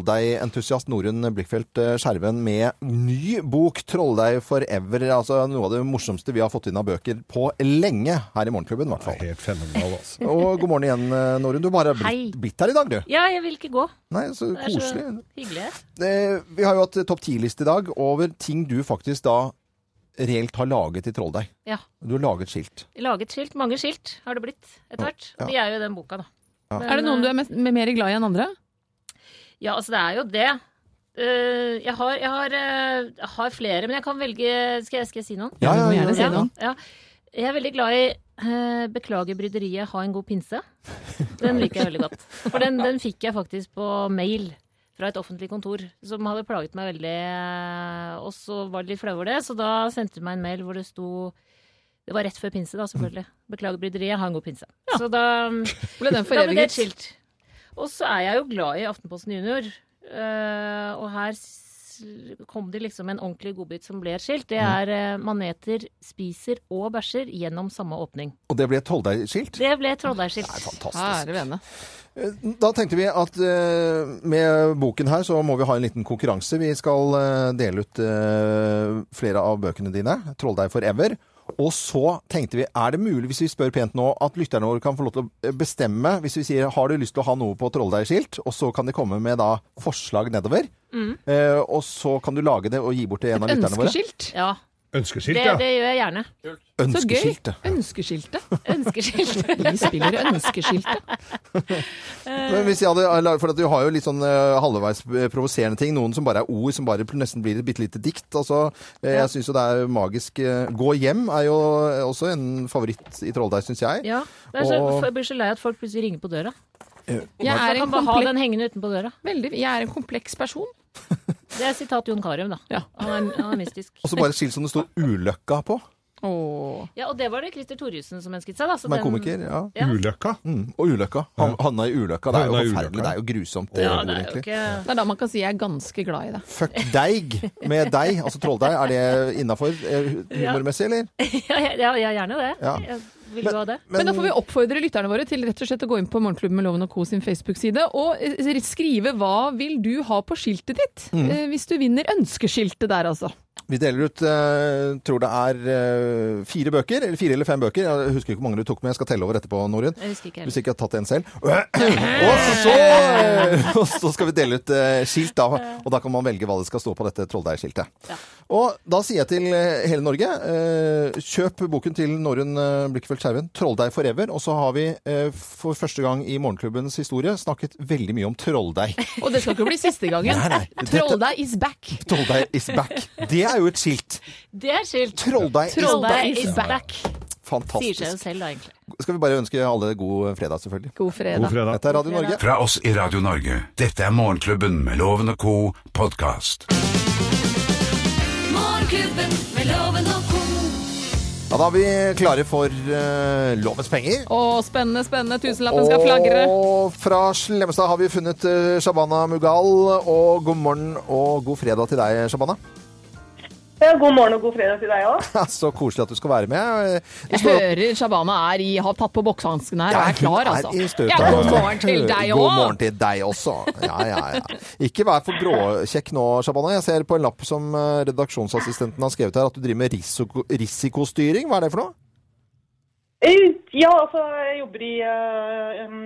[SPEAKER 2] trolldeigentusiast Norunn Blikkfeldt Skjerven med ny bok 'Trolldeig forever'. Altså noe av det morsomste vi har fått inn av bøker på lenge her i Morgenklubben, i hvert fall.
[SPEAKER 4] Helt fenomenal, altså.
[SPEAKER 2] Og god morgen igjen, eh, Norunn. Du bare har
[SPEAKER 5] Hei.
[SPEAKER 2] blitt, blitt her i dag, du.
[SPEAKER 5] Ja, jeg vil ikke gå.
[SPEAKER 2] Nei, så
[SPEAKER 5] Det er så
[SPEAKER 2] koselig.
[SPEAKER 5] hyggelig.
[SPEAKER 2] Eh, Vi har jo hatt topp ti-liste i dag over ting du faktisk da reelt har laget i Trolldeig.
[SPEAKER 5] Ja.
[SPEAKER 2] Du har laget skilt.
[SPEAKER 5] Laget skilt. Mange skilt har det blitt etter hvert.
[SPEAKER 2] Ja.
[SPEAKER 5] De er jo i den boka, da. Men,
[SPEAKER 3] Er det noen du er mest, mer glad i enn andre?
[SPEAKER 5] Ja, altså det er jo det. Eh, jeg, har, jeg, har, eh, jeg har flere, men jeg kan velge Skal jeg, skal jeg si noen?
[SPEAKER 3] Ja, du må gjerne
[SPEAKER 2] ja,
[SPEAKER 3] si
[SPEAKER 2] ja.
[SPEAKER 3] noe.
[SPEAKER 5] Ja. Jeg er veldig glad i eh, Beklager bryderiet, ha en god pinse. Den liker jeg veldig godt. For den, den fikk jeg faktisk på mail fra et offentlig kontor som hadde plaget meg veldig. eh, Og så var de litt flaue over det, så da sendte de meg en mail hvor det sto Det var rett før pinse, da, selvfølgelig. Beklager bryderiet, ha en god pinse. Så da mm,
[SPEAKER 3] Ble den
[SPEAKER 5] ja, men det er et
[SPEAKER 3] foreviget?
[SPEAKER 5] skilt. Og så er jeg jo glad i Aftenposten Junior. Eh, og her s- kom det liksom en ordentlig godbit som ble et skilt. Det
[SPEAKER 2] Mm.
[SPEAKER 5] er eh, maneter spiser og bæsjer gjennom samme åpning.
[SPEAKER 2] Og det ble et Trolldeig-skilt.
[SPEAKER 5] Det ble Trolldeig-skilt.
[SPEAKER 2] Fantastisk.
[SPEAKER 3] Ære vene.
[SPEAKER 2] Da tenkte vi at eh, med boken her så må vi ha en liten konkurranse. Vi skal eh, dele ut eh, flere av bøkene dine. 'Trolldeig forever'. Og så tenkte vi, er det mulig, hvis vi spør pent nå, at lytterne våre kan få lov til å eh, bestemme, hvis vi sier 'har du lyst til å ha noe på Trolldeig-skilt', og så kan de komme med da forslag nedover. Eh, og så kan du lage det og gi bort til en av lytterne våre.
[SPEAKER 3] Mm. Ønskeskilt.
[SPEAKER 5] Ja,
[SPEAKER 4] Ønskeskilt,
[SPEAKER 5] det,
[SPEAKER 4] ja.
[SPEAKER 5] det gjør jeg gjerne.
[SPEAKER 3] Så gøy.
[SPEAKER 2] Ønskeskilt.
[SPEAKER 3] Ønskeskiltet.
[SPEAKER 5] Ønskeskilt.
[SPEAKER 3] Vi spiller Ønskeskiltet.
[SPEAKER 2] Men hvis jeg hadde, eh, for at du har jo litt sånn eh, halvveis provoserende ting. Noen som bare er ord, som bare nesten blir et bitte lite dikt. Altså, eh, Jeg syns jo det er magisk. eh, Gå hjem er jo eh, også en favoritt i Trolldeig, syns jeg.
[SPEAKER 5] Ja, det er så,
[SPEAKER 2] Og-
[SPEAKER 5] jeg blir så lei at folk plutselig ringer på døra.
[SPEAKER 3] Jeg
[SPEAKER 5] Så
[SPEAKER 3] er
[SPEAKER 5] kan
[SPEAKER 3] en
[SPEAKER 5] bare ha
[SPEAKER 3] kompleks,
[SPEAKER 5] den hengende utenpå døra.
[SPEAKER 3] veldig, jeg er en kompleks person.
[SPEAKER 5] Det er sitat Jon Carew, da.
[SPEAKER 3] Ja.
[SPEAKER 5] Han, er, han er mystisk.
[SPEAKER 2] Og så bare et skilt som det står 'Uløkka' på.
[SPEAKER 3] Åh.
[SPEAKER 5] Ja, og det var det Christer Thorjussen som ønsket seg, da. så
[SPEAKER 2] Som er
[SPEAKER 5] den-
[SPEAKER 2] komiker. ja.
[SPEAKER 5] Ja.
[SPEAKER 4] Uløkka.
[SPEAKER 2] Mm, og 'Uløkka'. Han, Hanna i uløkka. Det er
[SPEAKER 4] Hanna
[SPEAKER 2] jo
[SPEAKER 4] i
[SPEAKER 2] forferdelig.
[SPEAKER 4] uløkka.
[SPEAKER 2] Det er jo grusomt, det
[SPEAKER 5] Ja,
[SPEAKER 2] ordet,
[SPEAKER 5] det er jo
[SPEAKER 2] egentlig.
[SPEAKER 5] ikke
[SPEAKER 3] Det er da man kan si jeg er ganske glad i det.
[SPEAKER 2] Fuck deig med deig. Altså trolldeig. Er det innafor eh, humormessig, eller?
[SPEAKER 5] Ja, ja, ja, ja gjerne det.
[SPEAKER 2] Ja.
[SPEAKER 5] Jeg vil du ha det?
[SPEAKER 3] Men da får vi oppfordre lytterne våre til rett og slett å gå inn på Morgenklubben med Loven og Co. sin Facebook-side og eh, skrive hva vil du ha på skiltet ditt,
[SPEAKER 2] Mm.
[SPEAKER 3] eh, hvis du vinner ønskeskiltet der, altså.
[SPEAKER 2] Vi deler ut, eh, tror det er eh, fire bøker, eller fire eller fem bøker. Jeg husker ikke hvor mange du tok med, jeg skal telle over etterpå, Norun.
[SPEAKER 5] Jeg husker ikke
[SPEAKER 2] Hvis
[SPEAKER 5] helt.
[SPEAKER 2] ikke jeg har tatt en selv. Og så, eh, og så skal vi dele ut eh, skilt, da. Og da kan man velge hva det skal stå på dette trolldeigskiltet. Og da sier jeg til eh, hele Norge, eh, kjøp boken til Norun eh, Blikkfeldt Skjerven, 'Trolldeig forever'. Og så har vi eh, for første gang i Morgenklubbens historie snakket veldig mye om trolldeig.
[SPEAKER 3] Og det skal ikke bli siste gangen.
[SPEAKER 2] Nei, nei. Dette-
[SPEAKER 3] Trolldeig is back.
[SPEAKER 2] Trolldeig is back. Det er jo et skilt.
[SPEAKER 5] Det er skilt!
[SPEAKER 2] Trolldeig is
[SPEAKER 5] Trolldeig is back, sier
[SPEAKER 2] Fantastisk.
[SPEAKER 5] seg jo selv da, egentlig.
[SPEAKER 2] skal vi bare ønske alle god fredag, selvfølgelig.
[SPEAKER 3] God fredag.
[SPEAKER 4] God fredag.
[SPEAKER 2] Dette er Radio Norge.
[SPEAKER 1] Fra oss i Radio Norge. Dette er Morgenklubben med Loven og co. podkast.
[SPEAKER 6] Morgenklubben med Loven og co.
[SPEAKER 2] Ja, da er vi klare for eh, lovens penger.
[SPEAKER 3] Å, spennende, spennende. Tusenlappen skal flagre.
[SPEAKER 2] Og fra Slemmestad har vi funnet eh, Shabana Mughal. Og god morgen og god fredag til deg, Shabana.
[SPEAKER 9] Ja, god morgen og god fredag til deg òg.
[SPEAKER 2] Så koselig at du skal være med.
[SPEAKER 3] Jeg hører Shabana er i, har tatt på boksehansken her og er klar, altså.
[SPEAKER 2] Er i støtet.
[SPEAKER 3] Ja, god morgen til deg
[SPEAKER 2] God
[SPEAKER 3] òg.
[SPEAKER 2] morgen til deg også. Ja, ja, ja. Ikke vær for bråkjekk nå, Shabana. Jeg ser på en lapp som eh, redaksjonsassistenten har skrevet her, at du driver med risiko risikostyring. Hva er det for noe?
[SPEAKER 9] Ja, altså, jeg jobber i eh, em,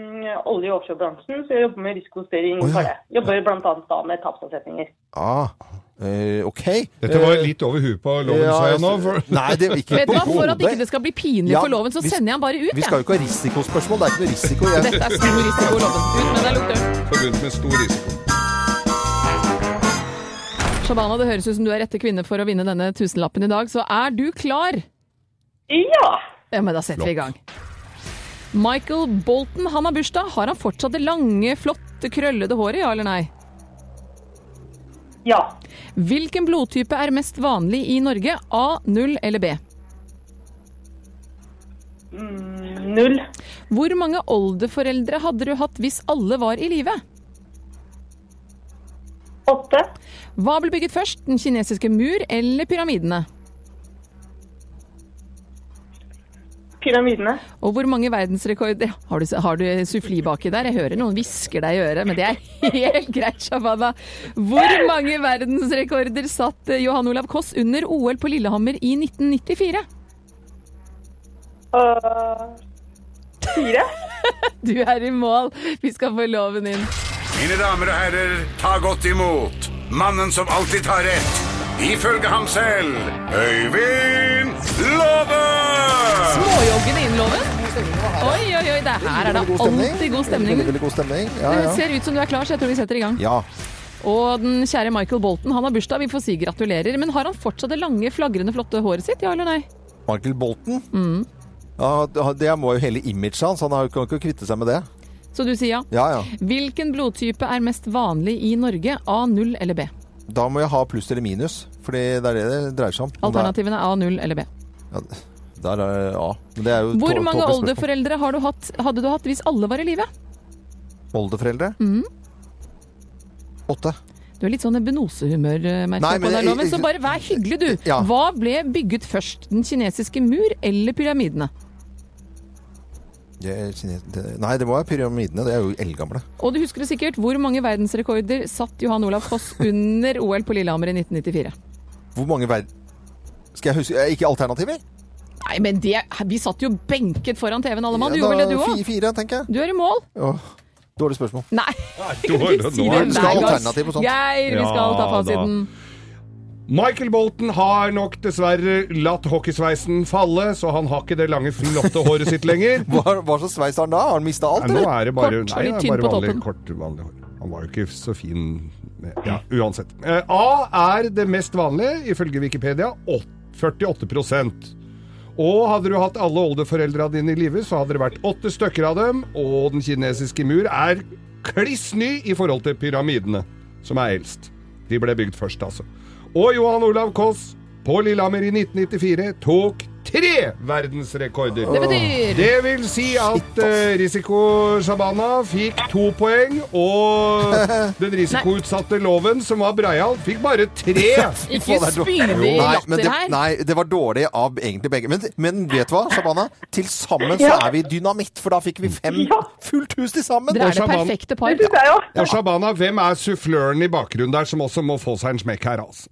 [SPEAKER 9] olje- og offshorebransjen, så jeg jobber med risikostyring.
[SPEAKER 2] Å, ja.
[SPEAKER 9] for det. Jobber bl.a. da med tapsavsetninger.
[SPEAKER 2] Ah, Eh, OK.
[SPEAKER 4] Dette var
[SPEAKER 2] Eh,
[SPEAKER 4] litt over huet på loven,
[SPEAKER 2] ja,
[SPEAKER 4] sa jeg nå. For...
[SPEAKER 2] Nei, det er ikke
[SPEAKER 3] Vet du
[SPEAKER 2] på
[SPEAKER 3] hva, For at ikke
[SPEAKER 2] hodet.
[SPEAKER 3] det skal bli pinlig
[SPEAKER 2] Ja,
[SPEAKER 3] for loven, så
[SPEAKER 2] vi-
[SPEAKER 3] sender jeg den bare ut.
[SPEAKER 2] Vi
[SPEAKER 3] jeg.
[SPEAKER 2] skal jo ikke ha risikospørsmål. Det er ikke noe risiko. Jeg,
[SPEAKER 3] Dette er stor risiko, loven. Ut med deg, lukteren.
[SPEAKER 4] Forbundet med stor risiko.
[SPEAKER 3] Shabana, det høres ut som du er rette kvinne for å vinne denne tusenlappen i dag, så er du klar?
[SPEAKER 9] Ja.
[SPEAKER 3] Ja, men da setter vi i gang. Michael Bolton, han har bursdag. Har han fortsatt det lange, flotte, krøllede håret, ja eller nei?
[SPEAKER 9] Ja.
[SPEAKER 3] Hvilken blodtype er mest vanlig i Norge? A, 0 eller B?
[SPEAKER 9] Null.
[SPEAKER 3] Hvor mange oldeforeldre hadde du hatt hvis alle var i live?
[SPEAKER 9] Åtte.
[SPEAKER 3] Hva ble bygget først, den kinesiske mur eller pyramidene?
[SPEAKER 9] Pyramidene.
[SPEAKER 3] Og hvor mange verdensrekorder Har du, har du suffli baki der? Jeg hører noen hvisker deg i øret, men det er helt greit, Shabana. Hvor mange verdensrekorder satt eh, Johan Olav Koss under OL på Lillehammer i 1994?
[SPEAKER 9] Øh, fire.
[SPEAKER 3] Du er i mål. Vi skal få loven inn.
[SPEAKER 1] Mine damer og herrer, ta godt imot mannen som alltid tar rett. Ifølge ham selv Øyvind Låve!
[SPEAKER 3] Småjoggende inn loven. Oi, oi, oi. Det her er da
[SPEAKER 2] veldig god stemning.
[SPEAKER 3] alltid god stemning.
[SPEAKER 2] Veldig, veldig god stemning. Ja,
[SPEAKER 3] Det
[SPEAKER 2] ja.
[SPEAKER 3] ser ut som du er klar, så jeg tror vi setter i gang.
[SPEAKER 2] ja.
[SPEAKER 3] Og den kjære Michael Bolton, han har bursdag, vi får si gratulerer. Men har han fortsatt det lange, flagrende, flotte håret sitt, ja eller nei?
[SPEAKER 2] Michael Bolton.
[SPEAKER 3] Mm.
[SPEAKER 2] Ja, det må jo hele imaget hans. Han har jo- kan ikke kvitte seg med det.
[SPEAKER 3] Så du sier ja.
[SPEAKER 2] Ja, ja.
[SPEAKER 3] Hvilken blodtype er mest vanlig i Norge? A0 eller B?
[SPEAKER 2] Da må jeg ha pluss eller minus, Fordi det er det det dreier seg om. Om det er-
[SPEAKER 3] Alternativene er A0 eller B.
[SPEAKER 2] Ja, der er ja. Men det er jo
[SPEAKER 3] Hvor
[SPEAKER 2] tå-
[SPEAKER 3] mange
[SPEAKER 2] tåpelig spørsmål.
[SPEAKER 3] oldeforeldre har du hatt, hadde du hatt hvis alle var i live?
[SPEAKER 2] Oldeforeldre?
[SPEAKER 3] Mm.
[SPEAKER 2] Åtte.
[SPEAKER 3] Du er litt sånn ebenosehumør, eh, merker
[SPEAKER 2] Nei,
[SPEAKER 3] jeg på
[SPEAKER 2] men
[SPEAKER 3] deg,
[SPEAKER 2] jeg-
[SPEAKER 3] Loven. Så
[SPEAKER 2] jeg-
[SPEAKER 3] bare vær hyggelig, du.
[SPEAKER 2] Ja.
[SPEAKER 3] Hva ble bygget først? Den kinesiske mur eller pyramidene?
[SPEAKER 2] Det er kines- det- Nei, det må være pyramidene. Det er jo eldgamle.
[SPEAKER 3] Og du husker det sikkert, hvor mange verdensrekorder satt Johan Olav Foss under OL på Lillehammer i 1994?
[SPEAKER 2] Hvor mange verd... Skal jeg huske eh, Ikke alternativer?
[SPEAKER 3] Nei, men det, vi satt jo benket foran TV-en alle mann. Du
[SPEAKER 2] Ja,
[SPEAKER 3] gjorde
[SPEAKER 2] da
[SPEAKER 3] vel det, du òg?
[SPEAKER 2] fi- Fire, tenker jeg.
[SPEAKER 3] Du er i mål.
[SPEAKER 2] Åh, dårlig spørsmål.
[SPEAKER 3] Nei,
[SPEAKER 4] Du har-
[SPEAKER 3] du sier
[SPEAKER 4] nå er
[SPEAKER 3] det
[SPEAKER 2] Du
[SPEAKER 4] den-
[SPEAKER 2] skal ha
[SPEAKER 3] hver
[SPEAKER 2] alternativ på
[SPEAKER 3] gang.
[SPEAKER 2] sånt.
[SPEAKER 3] Geir, vi skal
[SPEAKER 4] Ja,
[SPEAKER 3] ta fasiten.
[SPEAKER 4] Michael Bolton har nok dessverre latt hockeysveisen falle, så han har ikke det lange, flotte håret sitt lenger.
[SPEAKER 2] Hva, hva slags sveis har han da? Har han mista alt,
[SPEAKER 4] Nei, nå
[SPEAKER 2] eller?
[SPEAKER 4] er det bare,
[SPEAKER 3] Kort og
[SPEAKER 4] nei,
[SPEAKER 3] litt
[SPEAKER 4] det er
[SPEAKER 3] tynn
[SPEAKER 4] bare
[SPEAKER 3] på
[SPEAKER 4] vanlig,
[SPEAKER 3] toppen.
[SPEAKER 4] kort, vanlig hår. Han var jo ikke så fin ja, Uansett. Eh, A er det mest vanlige, ifølge Wikipedia. ått- 48 Og hadde du hatt alle oldeforeldra dine i live, så hadde det vært åtte stykker av dem. Og den kinesiske mur er kliss ny i forhold til pyramidene, som er eldst. De ble bygd først, altså. Og Johan Olav Koss på Lillehammer i 1994 tok tre verdensrekorder.
[SPEAKER 3] Det betyr
[SPEAKER 4] Det vil si at eh, Risiko Shabana fikk to poeng, og den risikoutsatte Loven, som var Breial, fikk bare tre.
[SPEAKER 3] Ikke spydig
[SPEAKER 2] Nei, men
[SPEAKER 3] latter
[SPEAKER 2] det,
[SPEAKER 3] her.
[SPEAKER 2] nei, det var dårlig av egentlig begge. Men, men vet du hva, Shabana? Til sammen så
[SPEAKER 9] Ja.
[SPEAKER 2] er vi dynamitt, for da fikk vi fem fullt hus til sammen.
[SPEAKER 3] Dere er det
[SPEAKER 4] Sjaman.
[SPEAKER 3] perfekte
[SPEAKER 9] Det
[SPEAKER 3] par.
[SPEAKER 9] syns jeg jo.
[SPEAKER 4] Og Shabana, hvem er suffløren i bakgrunnen der som også må få seg en smekk her, altså?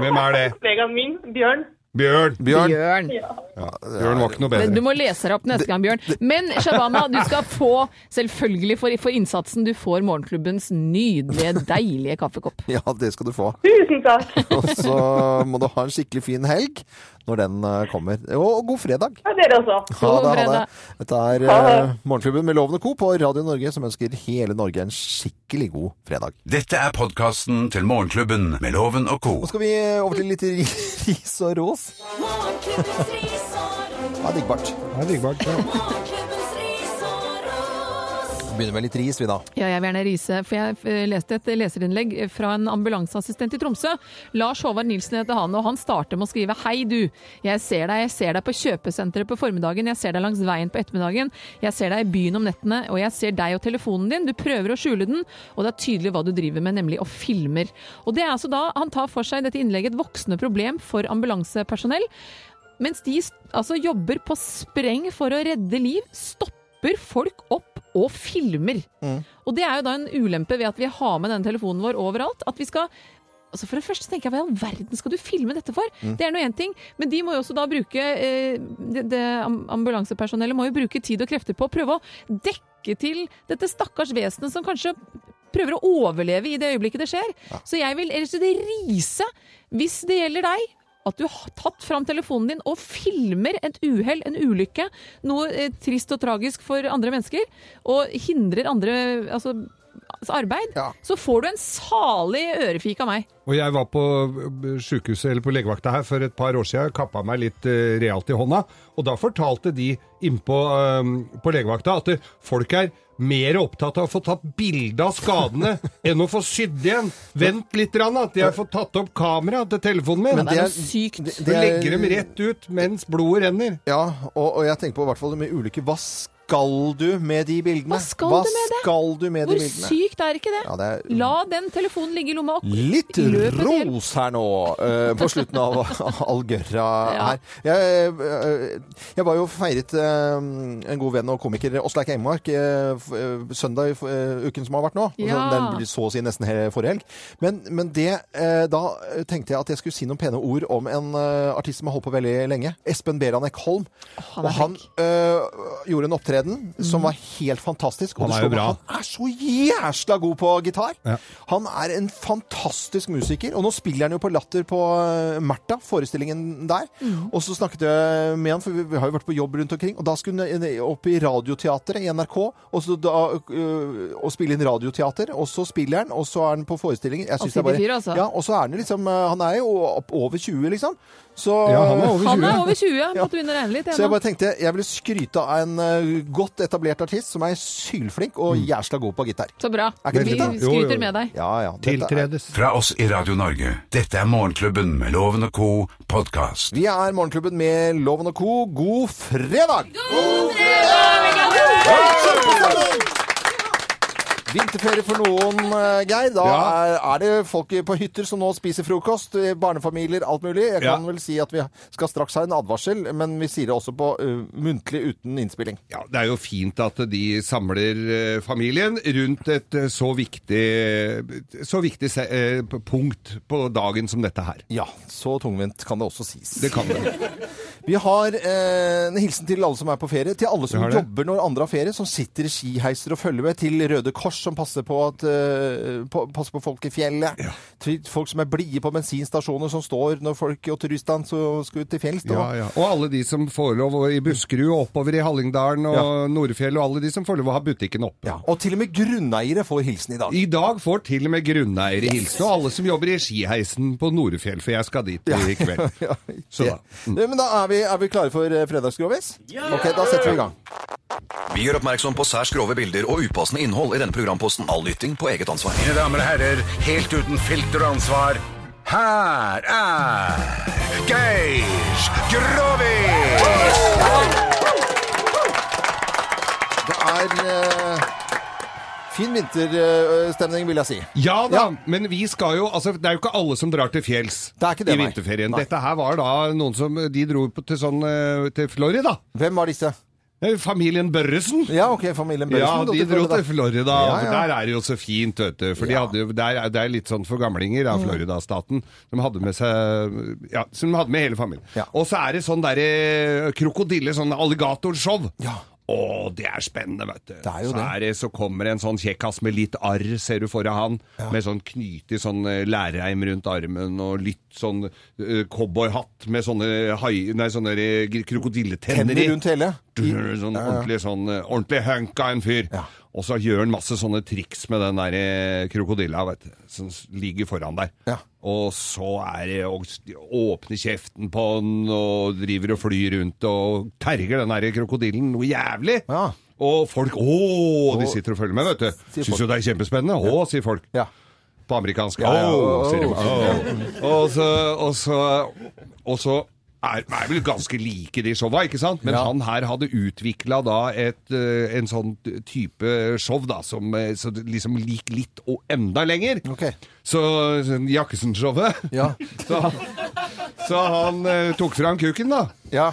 [SPEAKER 4] Hvem er det?
[SPEAKER 9] Kollegaen min, Bjørn.
[SPEAKER 4] Bjørn.
[SPEAKER 2] Bjørn,
[SPEAKER 3] Bjørn.
[SPEAKER 4] Bjørn var ikke noe
[SPEAKER 3] Men Du
[SPEAKER 4] bedre.
[SPEAKER 3] må lese deg opp neste gang, Bjørn. Men Shabana, du skal få, selvfølgelig for, for innsatsen, du får Morgenklubbens nydelige, deilige kaffekopp.
[SPEAKER 2] ja, det skal du få.
[SPEAKER 9] Tusen takk.
[SPEAKER 2] Og så må du ha en skikkelig fin helg når den eh, kommer. Og god fredag.
[SPEAKER 9] Ja, dere også.
[SPEAKER 2] Ha
[SPEAKER 3] God
[SPEAKER 2] det, ha det.
[SPEAKER 3] fredag.
[SPEAKER 2] Dette er
[SPEAKER 9] Ha det.
[SPEAKER 2] eh, Morgenklubben med Lovende Co. på Radio Norge, som ønsker hele Norge en skikkelig god fredag.
[SPEAKER 1] Dette er podkasten til Morgenklubben med Loven og co.
[SPEAKER 2] Nå skal vi eh, over til litt ris og ros.
[SPEAKER 6] Morgenklubbens ris og
[SPEAKER 2] Det er diggbart.
[SPEAKER 4] Nei, Vigbart, ja.
[SPEAKER 6] Morgenklubbens ris og ros.
[SPEAKER 2] Begynner med litt ris, vi da.
[SPEAKER 3] Ja, jeg vil gjerne rise, for jeg eh, leste et leserinnlegg fra en ambulanseassistent i Tromsø. Lars Håvard Nilsen heter han, og han starter med å skrive Hei du, jeg ser deg, jeg ser deg på kjøpesenteret på formiddagen, jeg ser deg langs veien på ettermiddagen, jeg ser deg i byen om nettene, og jeg ser deg og telefonen din, du prøver å skjule den, og det er tydelig hva du driver med, nemlig og filmer. Og det er altså da han tar for seg i dette innlegget et voksende problem for ambulansepersonell. Mens de st- altså, jobber på spreng for å redde liv, stopper folk opp og filmer. Og det er jo da en ulempe ved at vi har med denne telefonen vår overalt. At vi skal Altså For det første tenker jeg, hva i all verden skal du filme dette for? Det er nå én ting, men de må jo også da bruke eh, det, det am- Ambulansepersonellet må jo bruke tid og krefter på å prøve å dekke til dette stakkars vesenet som kanskje prøver å overleve i det øyeblikket det skjer. Så jeg vil ellers det rise, hvis det gjelder deg, at du har tatt fram telefonen din og filmer et uhell, en ulykke, noe eh, trist og tragisk for andre mennesker, og hindrer andre altså, altså arbeid,
[SPEAKER 2] Ja.
[SPEAKER 3] så får du en salig ørefik av meg.
[SPEAKER 4] Og jeg var på ø, sykehuset eller på legevakta her for et par år siden, kappa meg litt ø, realt i hånda, og da fortalte de innpå ø, på legevakta at ø, folk er mer opptatt av å få tatt bilde av skadene enn å få sydd igjen. Vent litt, rann, at jeg får tatt opp kameraet til telefonen min.
[SPEAKER 2] Men
[SPEAKER 3] Det er
[SPEAKER 2] Det er-
[SPEAKER 3] noe sykt.
[SPEAKER 2] det-
[SPEAKER 4] Du legger dem rett ut mens blodet renner.
[SPEAKER 2] Ja, og, og jeg tenker på i hvert fall med ulykke. Hva skal du med de bildene?
[SPEAKER 3] Hva skal du med det?
[SPEAKER 2] skal du med de
[SPEAKER 3] Hvor
[SPEAKER 2] bildene?
[SPEAKER 3] sykt er ikke det?
[SPEAKER 2] Ja, det er
[SPEAKER 3] La den telefonen ligge i lomma. og-
[SPEAKER 2] Litt
[SPEAKER 3] Løpet til.
[SPEAKER 2] ros her nå, eh, på slutten av Algørra
[SPEAKER 3] Ja.
[SPEAKER 2] her. Jeg, eh, jeg var jo feiret eh, en god venn og komiker, Åsleik Engmark, eh, f- eh, søndag i f- eh, uken som har vært nå. Og så-
[SPEAKER 3] Ja.
[SPEAKER 2] Den blir så å si nesten he- forrige helg. Men, men det, eh, da tenkte jeg at jeg skulle si noen pene ord om en eh, artist som har holdt på veldig lenge. Espen Beranek Holm.
[SPEAKER 3] han er Mm.
[SPEAKER 2] og han eh, gjorde en opptreden som var helt fantastisk. og
[SPEAKER 4] Han
[SPEAKER 2] det
[SPEAKER 4] er jo
[SPEAKER 2] slo meg
[SPEAKER 4] bra.
[SPEAKER 2] at han er så jæsla god på gitar.
[SPEAKER 4] Ja.
[SPEAKER 2] Han er en fantastisk musiker, og nå spiller han jo på Latter på eh, Märtha, forestillingen der. Og så snakket jeg med han, for vi, vi har jo vært på jobb rundt omkring, og da skulle han inn- opp i Radioteatret i NRK og, så da, øh, og spille inn radioteater, og så spiller han, og så er han på forestillingen. Jeg
[SPEAKER 3] Han
[SPEAKER 2] synes det er bare,
[SPEAKER 3] sitter fyr, altså.
[SPEAKER 2] Ja, og så er han liksom, eh, han er jo opp over 20, liksom. Så,
[SPEAKER 4] Ja, han er over
[SPEAKER 3] Han
[SPEAKER 4] 20.
[SPEAKER 3] er over 20, han måtte begynne å regne litt.
[SPEAKER 2] så jeg
[SPEAKER 3] ennå.
[SPEAKER 2] bare tenkte, jeg ville skryte av en eh, godt etablert artist som er sylflink og
[SPEAKER 4] Mm.
[SPEAKER 2] jæsla god på gitar.
[SPEAKER 3] Så bra.
[SPEAKER 2] Er ikke det
[SPEAKER 3] Vi
[SPEAKER 2] fint, da?
[SPEAKER 4] Jo, jo, jo.
[SPEAKER 3] skryter med deg.
[SPEAKER 2] Ja, ja. dette er-
[SPEAKER 4] Tiltredes.
[SPEAKER 1] Fra oss i Radio Norge. Dette er Morgenklubben med Loven og co. podkast.
[SPEAKER 2] Vi er Morgenklubben med Loven og Co. God fredag! Vinterferie for noen, eh, Geir. Da er, er det folk på hytter som nå spiser frokost. eh, Barnefamilier, alt mulig. Jeg kan
[SPEAKER 4] Ja.
[SPEAKER 2] vel si at vi skal straks ha en advarsel, men vi sier det også på eh, muntlig uten innspilling.
[SPEAKER 4] Ja, Det er jo fint at de samler eh, familien rundt et eh, så viktig, så viktig se- eh, p- punkt på dagen som dette her.
[SPEAKER 2] Ja, så tungvint kan det også sies.
[SPEAKER 4] Det kan det.
[SPEAKER 2] Vi har eh, en hilsen til alle som er på ferie, til alle som
[SPEAKER 4] Vi har det.
[SPEAKER 2] jobber når andre har ferie, som sitter i skiheiser og følger med, til Røde Kors som passer på, at, eh, på, passer på folk i fjellet, til folk som er blide på bensinstasjoner som står når folk og turistene så skal ut til fjells. da.
[SPEAKER 4] Ja, ja. Og alle de som får lov å- i Buskerud og oppover i Hallingdalen og
[SPEAKER 2] Ja.
[SPEAKER 4] Nordfjell, og alle de som får lov å ha butikken oppe.
[SPEAKER 2] Ja, Og til og med grunneiere får hilsen i dag.
[SPEAKER 4] I dag får til og med grunneiere hilsen, og alle som jobber i skiheisen på Norefjell, for jeg skal dit i kveld.
[SPEAKER 2] Ja,
[SPEAKER 4] Så da.
[SPEAKER 2] det- Men da er vi, er vi klare for eh, fredagsgrovis? Ok, da setter vi i gang.
[SPEAKER 10] Vi gjør oppmerksom på særs grove bilder og upassende innhold i denne programposten. All lytting på eget ansvar.
[SPEAKER 1] Mine damer og herrer, helt uten filter og ansvar, her er Geir Grovis!
[SPEAKER 2] Det er eh, fin vinterstemning, vil jeg si.
[SPEAKER 4] Ja da, men vi skal jo Altså, det er jo ikke alle som drar til fjells
[SPEAKER 2] Det er ikke det,
[SPEAKER 4] i
[SPEAKER 2] nei.
[SPEAKER 4] vinterferien.
[SPEAKER 2] Nei.
[SPEAKER 4] Dette her var da noen som De dro på, til sånn eh, til Florida.
[SPEAKER 2] Hvem var disse?
[SPEAKER 4] Det er jo Familien Børresen.
[SPEAKER 2] Ja, ok, familien
[SPEAKER 4] Ja,
[SPEAKER 2] Børresen.
[SPEAKER 4] de dro til Florida.
[SPEAKER 2] Ja, ja.
[SPEAKER 4] for Der er det jo så fint, vet du. For de hadde, jo- der, er- det er litt sånn for gamlinger
[SPEAKER 2] Mm.
[SPEAKER 4] av Florida-staten. De hadde med seg Ja, som de hadde med hele familien.
[SPEAKER 2] Ja.
[SPEAKER 4] Og så er det sånn derre krokodille, sånn alligatorshow.
[SPEAKER 2] Ja.
[SPEAKER 4] Å, det er spennende, vet du.
[SPEAKER 2] Det er jo
[SPEAKER 4] så,
[SPEAKER 2] det.
[SPEAKER 4] er det, så kommer en sånn kjekkas med litt arr, ser du foran han. Med sånn knytig sånn eh, lærreim rundt armen og litt sånn eh, cowboyhatt med sånne, hai, nei, sånne eh, krokodilletenner i.
[SPEAKER 2] Tenner rundt hele.
[SPEAKER 4] Sånn ordentlig, sånn, eh, ordentlig hunk av en fyr.
[SPEAKER 2] Ja.
[SPEAKER 4] Og så gjør han masse sånne triks med den der eh, krokodilla vet du, som s- ligger foran der.
[SPEAKER 2] Ja.
[SPEAKER 4] Og så er det å s- åpne kjeften på den og driver og flyr rundt og terger den der krokodillen noe jævlig.
[SPEAKER 2] Ja.
[SPEAKER 4] Og folk Å, de
[SPEAKER 2] Og-
[SPEAKER 4] sitter og følger med, vet du.
[SPEAKER 2] Sier
[SPEAKER 4] Syns jo det er kjempespennende. Å, sier folk.
[SPEAKER 2] Ja.
[SPEAKER 4] På amerikansk.
[SPEAKER 2] Ja, ja,
[SPEAKER 4] Åh,
[SPEAKER 2] åh,
[SPEAKER 4] sier de.
[SPEAKER 2] åh.
[SPEAKER 4] Åh. Og så, og så, og så er, er vel ganske like de showa, ikke sant? Men
[SPEAKER 2] Ja.
[SPEAKER 4] han her hadde utvikla da et, eh, en sånn type show da, som eh, så det liksom gikk litt og enda lenger.
[SPEAKER 2] Mm. Ok.
[SPEAKER 4] Så sånn Jakkesen-showet.
[SPEAKER 2] Ja.
[SPEAKER 4] Så han, så han eh, tok fram kuken, da.
[SPEAKER 2] ja.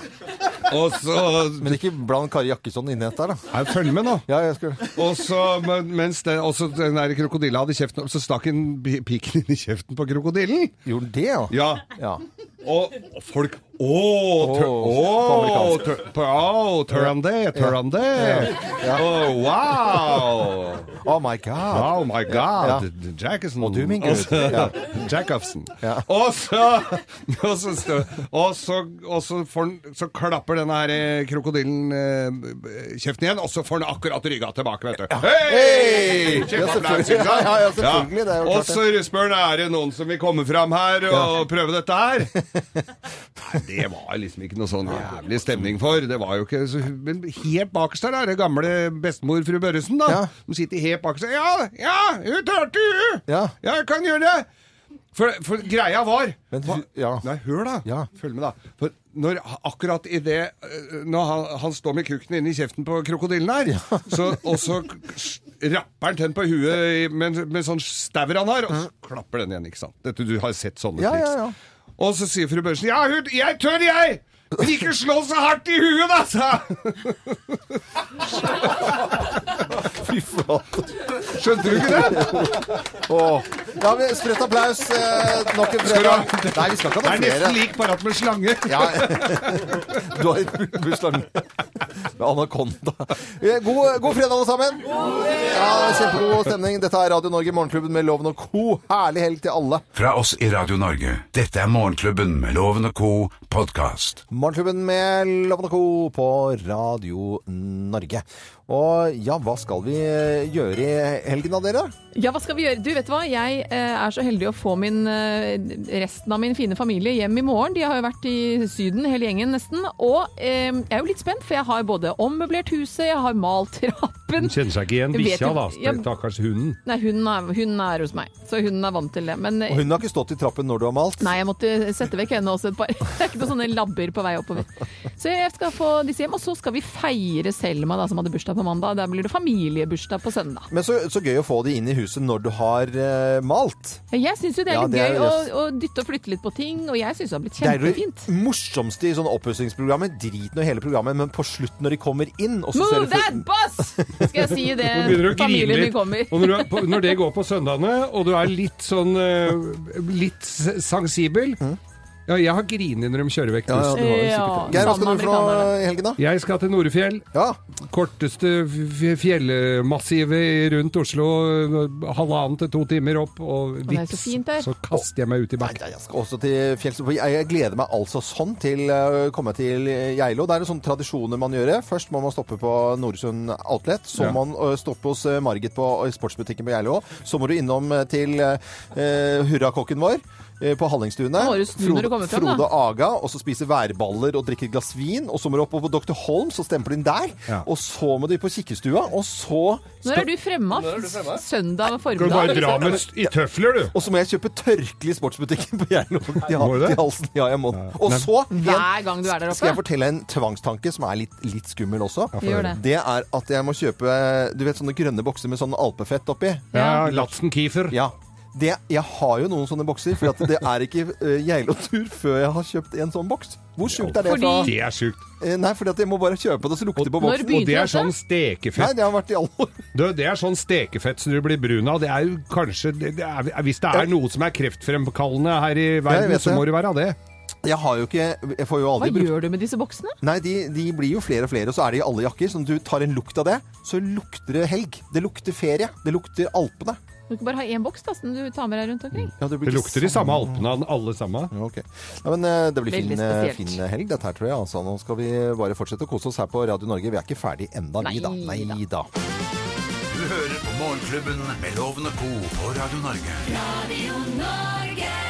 [SPEAKER 4] Og så
[SPEAKER 2] Men ikke bland Kari Jakkesson inn i dette her, da.
[SPEAKER 4] Nei, Følg med nå.
[SPEAKER 2] Ja, jeg skulle...
[SPEAKER 4] Og så, men- mens den, og så den der krokodilla hadde kjeften opp, så stakk han pi- piken inn i kjeften på krokodillen.
[SPEAKER 2] Gjorde den det, ja?
[SPEAKER 4] Ja,
[SPEAKER 2] Ja.
[SPEAKER 4] og folk Åh, tør,
[SPEAKER 2] Åh,
[SPEAKER 4] åh,
[SPEAKER 2] på
[SPEAKER 4] tør, på- åh, tør han det? Tør han det? Åh, wow!
[SPEAKER 2] Oh my god.
[SPEAKER 4] Oh my god, Jackson.
[SPEAKER 2] Og du, min gud.
[SPEAKER 4] så-
[SPEAKER 2] Ja.
[SPEAKER 4] Jackofsen.
[SPEAKER 2] Ja.
[SPEAKER 4] Og så Og så, stå- og så, og så, får den, så klapper denne her eh, krokodillen eh, kjeften igjen, og så får den akkurat rygga tilbake, vet du. Hei!
[SPEAKER 2] Ja,
[SPEAKER 4] Kjempeapplaus,
[SPEAKER 2] selvfølgelig.
[SPEAKER 4] ikke sant?
[SPEAKER 2] Ja, ja, ja, selvfølgelig, det er jo
[SPEAKER 4] Og
[SPEAKER 2] klart det.
[SPEAKER 4] så spør han er det noen som vil komme fram her og prøve dette her. Nei, det var liksom ikke noe sånn jævlig stemning for. Det var jo ikke så, Men helt bakerst der er det gamle bestemor fru Børresen, da.
[SPEAKER 2] Ja.
[SPEAKER 4] Hun sitter helt bakerst. Ja, ja, hun turte, hun!
[SPEAKER 2] Ja.
[SPEAKER 4] ja, jeg kan gjøre det! For, for greia var
[SPEAKER 2] Men
[SPEAKER 4] Hva-
[SPEAKER 2] hu- ja.
[SPEAKER 4] Nei, hør da.
[SPEAKER 2] Ja.
[SPEAKER 4] Følg med, da. For når, akkurat i det eh, Når han, han står med kukken inni kjeften på krokodillen her, så, og så s- rapper han den på huet i- med, en- med sånn staur han har, og så klapper den igjen, ikke sant. Dette, du har sett sånne
[SPEAKER 2] Ja,
[SPEAKER 4] triks.
[SPEAKER 2] ja, ja.
[SPEAKER 4] Og så sier fru Børsen Ja, hun, jeg tør, jeg! Men ikke slå så hardt i huet, da, sa han.
[SPEAKER 2] Fy flate.
[SPEAKER 4] Skjønte du ikke det?
[SPEAKER 2] Åh. Ja, men Spredt applaus eh, nok en
[SPEAKER 4] Skal du ha-
[SPEAKER 2] fredag. Nei, vi skal ikke
[SPEAKER 4] Det
[SPEAKER 2] ha noen
[SPEAKER 4] er nesten
[SPEAKER 2] flere.
[SPEAKER 4] lik Parat med slange.
[SPEAKER 2] Ja. Du har et bursdag med anakonda. Eh, God, god fredag, alle sammen. Ja, Kjempegod stemning. Dette er Radio Norge, Morgenklubben med Loven og co. Herlig helg til alle.
[SPEAKER 1] Fra oss i Radio Norge. Dette er Morgenklubben med Loven og co. podkast.
[SPEAKER 2] Morgenklubben med Loven og Co. på Radio Norge. Og ja, hva skal vi eh, gjøre i helgen da, dere?
[SPEAKER 3] Ja, hva skal vi gjøre? Du, vet du hva? Jeg eh, er så heldig å få min, eh, resten av min fine familie hjem i morgen. De har jo vært i Syden, hele gjengen nesten. Og eh, jeg er jo litt spent, for jeg har både ommøblert huset, jeg har malt trappen.
[SPEAKER 4] Hun kjenner seg ikke igjen.
[SPEAKER 3] Jeg vet
[SPEAKER 4] Bikkja,
[SPEAKER 3] jo-
[SPEAKER 4] da.
[SPEAKER 3] Ja.
[SPEAKER 4] Stakkars hunden.
[SPEAKER 3] Nei, hun er, hun er hos meg, så hun er vant til det. Men eh,
[SPEAKER 2] Og hun har ikke stått i trappen når du har malt.
[SPEAKER 3] Nei, jeg måtte sette vekk henne også et par. Det er ikke noen sånne labber på vei oppover. Så jeg skal få disse hjem, og så skal vi feire Selma da, som hadde bursdag på mandag. Der blir det familiebursdag på søndag.
[SPEAKER 2] Men så, så gøy å få de inn i huset når du har eh, malt.
[SPEAKER 3] Jeg syns jo det er
[SPEAKER 2] Ja,
[SPEAKER 3] litt
[SPEAKER 2] det er
[SPEAKER 3] gøy å,
[SPEAKER 2] just-
[SPEAKER 3] å dytte og flytte litt på ting, og jeg syns det har blitt
[SPEAKER 2] Det er jo
[SPEAKER 3] kjempefint.
[SPEAKER 2] det morsomste i sånne oppussingsprogrammer. Drit nå i hele programmet, men på slutt når de kommer inn og så ser
[SPEAKER 3] Move
[SPEAKER 2] du
[SPEAKER 3] that bus! Skal jeg si det
[SPEAKER 4] Nå begynner du å grine
[SPEAKER 3] familien min
[SPEAKER 4] litt.
[SPEAKER 3] kommer.
[SPEAKER 4] Og når, du er, på, når det går på søndagene, og du er litt sånn eh, Litt s- sensibel Ja, jeg har grinet når de kjører vekk
[SPEAKER 2] Ja, ja,
[SPEAKER 4] bussen.
[SPEAKER 2] det var jo
[SPEAKER 3] Ja.
[SPEAKER 2] sikkert det. Geir, hva skal du for noe i helgen, da?
[SPEAKER 4] Jeg skal til Norefjell.
[SPEAKER 2] Ja.
[SPEAKER 4] Korteste f- fjellmassivet rundt Oslo. eh, Halvannen til to timer opp, og
[SPEAKER 3] det er
[SPEAKER 4] vips,
[SPEAKER 3] så fint der.
[SPEAKER 4] så kaster jeg meg ut i bakken.
[SPEAKER 2] Nei, Jeg skal også til fjells. Jeg jeg gleder meg altså sånn til å komme til Geilo. Det er sånne tradisjoner man gjør. Først må man stoppe på Noresund Outlet. Så
[SPEAKER 4] Ja.
[SPEAKER 2] må man ø, stoppe hos ø, Margit på ø, sportsbutikken på Geilo. Så må du innom ø, til ø, ø, hurrakokken vår. ø, På Hallingstuene.
[SPEAKER 3] må du snu når du kommer frem, da.
[SPEAKER 2] Frode Aga. Og så spise værballer og drikke et glass vin. Og så må du opp på Dr. Holm, så stemper du inn der.
[SPEAKER 4] Ja.
[SPEAKER 2] Og så må du på kikkestua, og så
[SPEAKER 3] Når er du fremma? Søndag
[SPEAKER 4] Skal du
[SPEAKER 3] formiddag? liksom.
[SPEAKER 4] bare dra med s- i tøfler, du?
[SPEAKER 2] Og så må jeg kjøpe tørkle i sportsbutikken på Geilo. til ha-
[SPEAKER 4] Må du det?
[SPEAKER 2] til halsen. Ja, jeg må. Og så
[SPEAKER 3] Hver gang du er der
[SPEAKER 2] Skal jeg
[SPEAKER 3] oppe?
[SPEAKER 2] fortelle en tvangstanke som er litt, litt skummel også?
[SPEAKER 3] Gjør det.
[SPEAKER 2] Det er at jeg må kjøpe du vet, sånne grønne bokser med sånn alpefett oppi.
[SPEAKER 4] Ja, Latzen Kiefer.
[SPEAKER 2] Ja. Det, jeg har jo noen sånne bokser, for at det er ikke uh, Geilo-tur før jeg har kjøpt en sånn boks. Hvor sjukt er det? Fra?
[SPEAKER 3] Fordi-
[SPEAKER 4] Det er sjukt.
[SPEAKER 2] Eh, Nei, fordi at jeg må bare kjøpe det, så lukter det på
[SPEAKER 3] Når
[SPEAKER 2] boksen.
[SPEAKER 4] Og det
[SPEAKER 3] begynte dette?
[SPEAKER 4] er sånn stekefett.
[SPEAKER 2] Nei, det har vært i alle år.
[SPEAKER 4] Du, det er sånn stekefett som du blir brun av. Det er jo kanskje det det er, Hvis det er noe som er kreftfremkallende her i verden,
[SPEAKER 2] vet
[SPEAKER 4] så
[SPEAKER 2] det.
[SPEAKER 4] må det være det.
[SPEAKER 2] Jeg har jo ikke Jeg får jo
[SPEAKER 3] Hva
[SPEAKER 2] aldri brukt
[SPEAKER 3] gjør du med disse boksene?
[SPEAKER 2] Nei, de, de blir jo flere og flere, og så er de i alle jakker. Så når du tar en lukt av det, så lukter det helg. Det lukter ferie. Det lukter Alpene.
[SPEAKER 3] Du kan bare ha én boks da, som du tar med deg rundt omkring.
[SPEAKER 2] Ja, blir
[SPEAKER 4] Det
[SPEAKER 2] ikke
[SPEAKER 4] lukter de samme alpene, alle sammen.
[SPEAKER 2] Ja, Ok. Ja, men eh, det blir
[SPEAKER 3] Veldig
[SPEAKER 2] fin, eh,
[SPEAKER 3] spesielt.
[SPEAKER 2] fin helg, dette her, tror jeg. Altså, nå skal vi bare fortsette å kose oss her på Radio Norge. Vi er ikke ferdig enda, vi da. Nei
[SPEAKER 3] Nei
[SPEAKER 2] da.
[SPEAKER 3] da.
[SPEAKER 1] Du hører på Morgenklubben med Loven og co. på Radio Norge.
[SPEAKER 6] Radio Norge.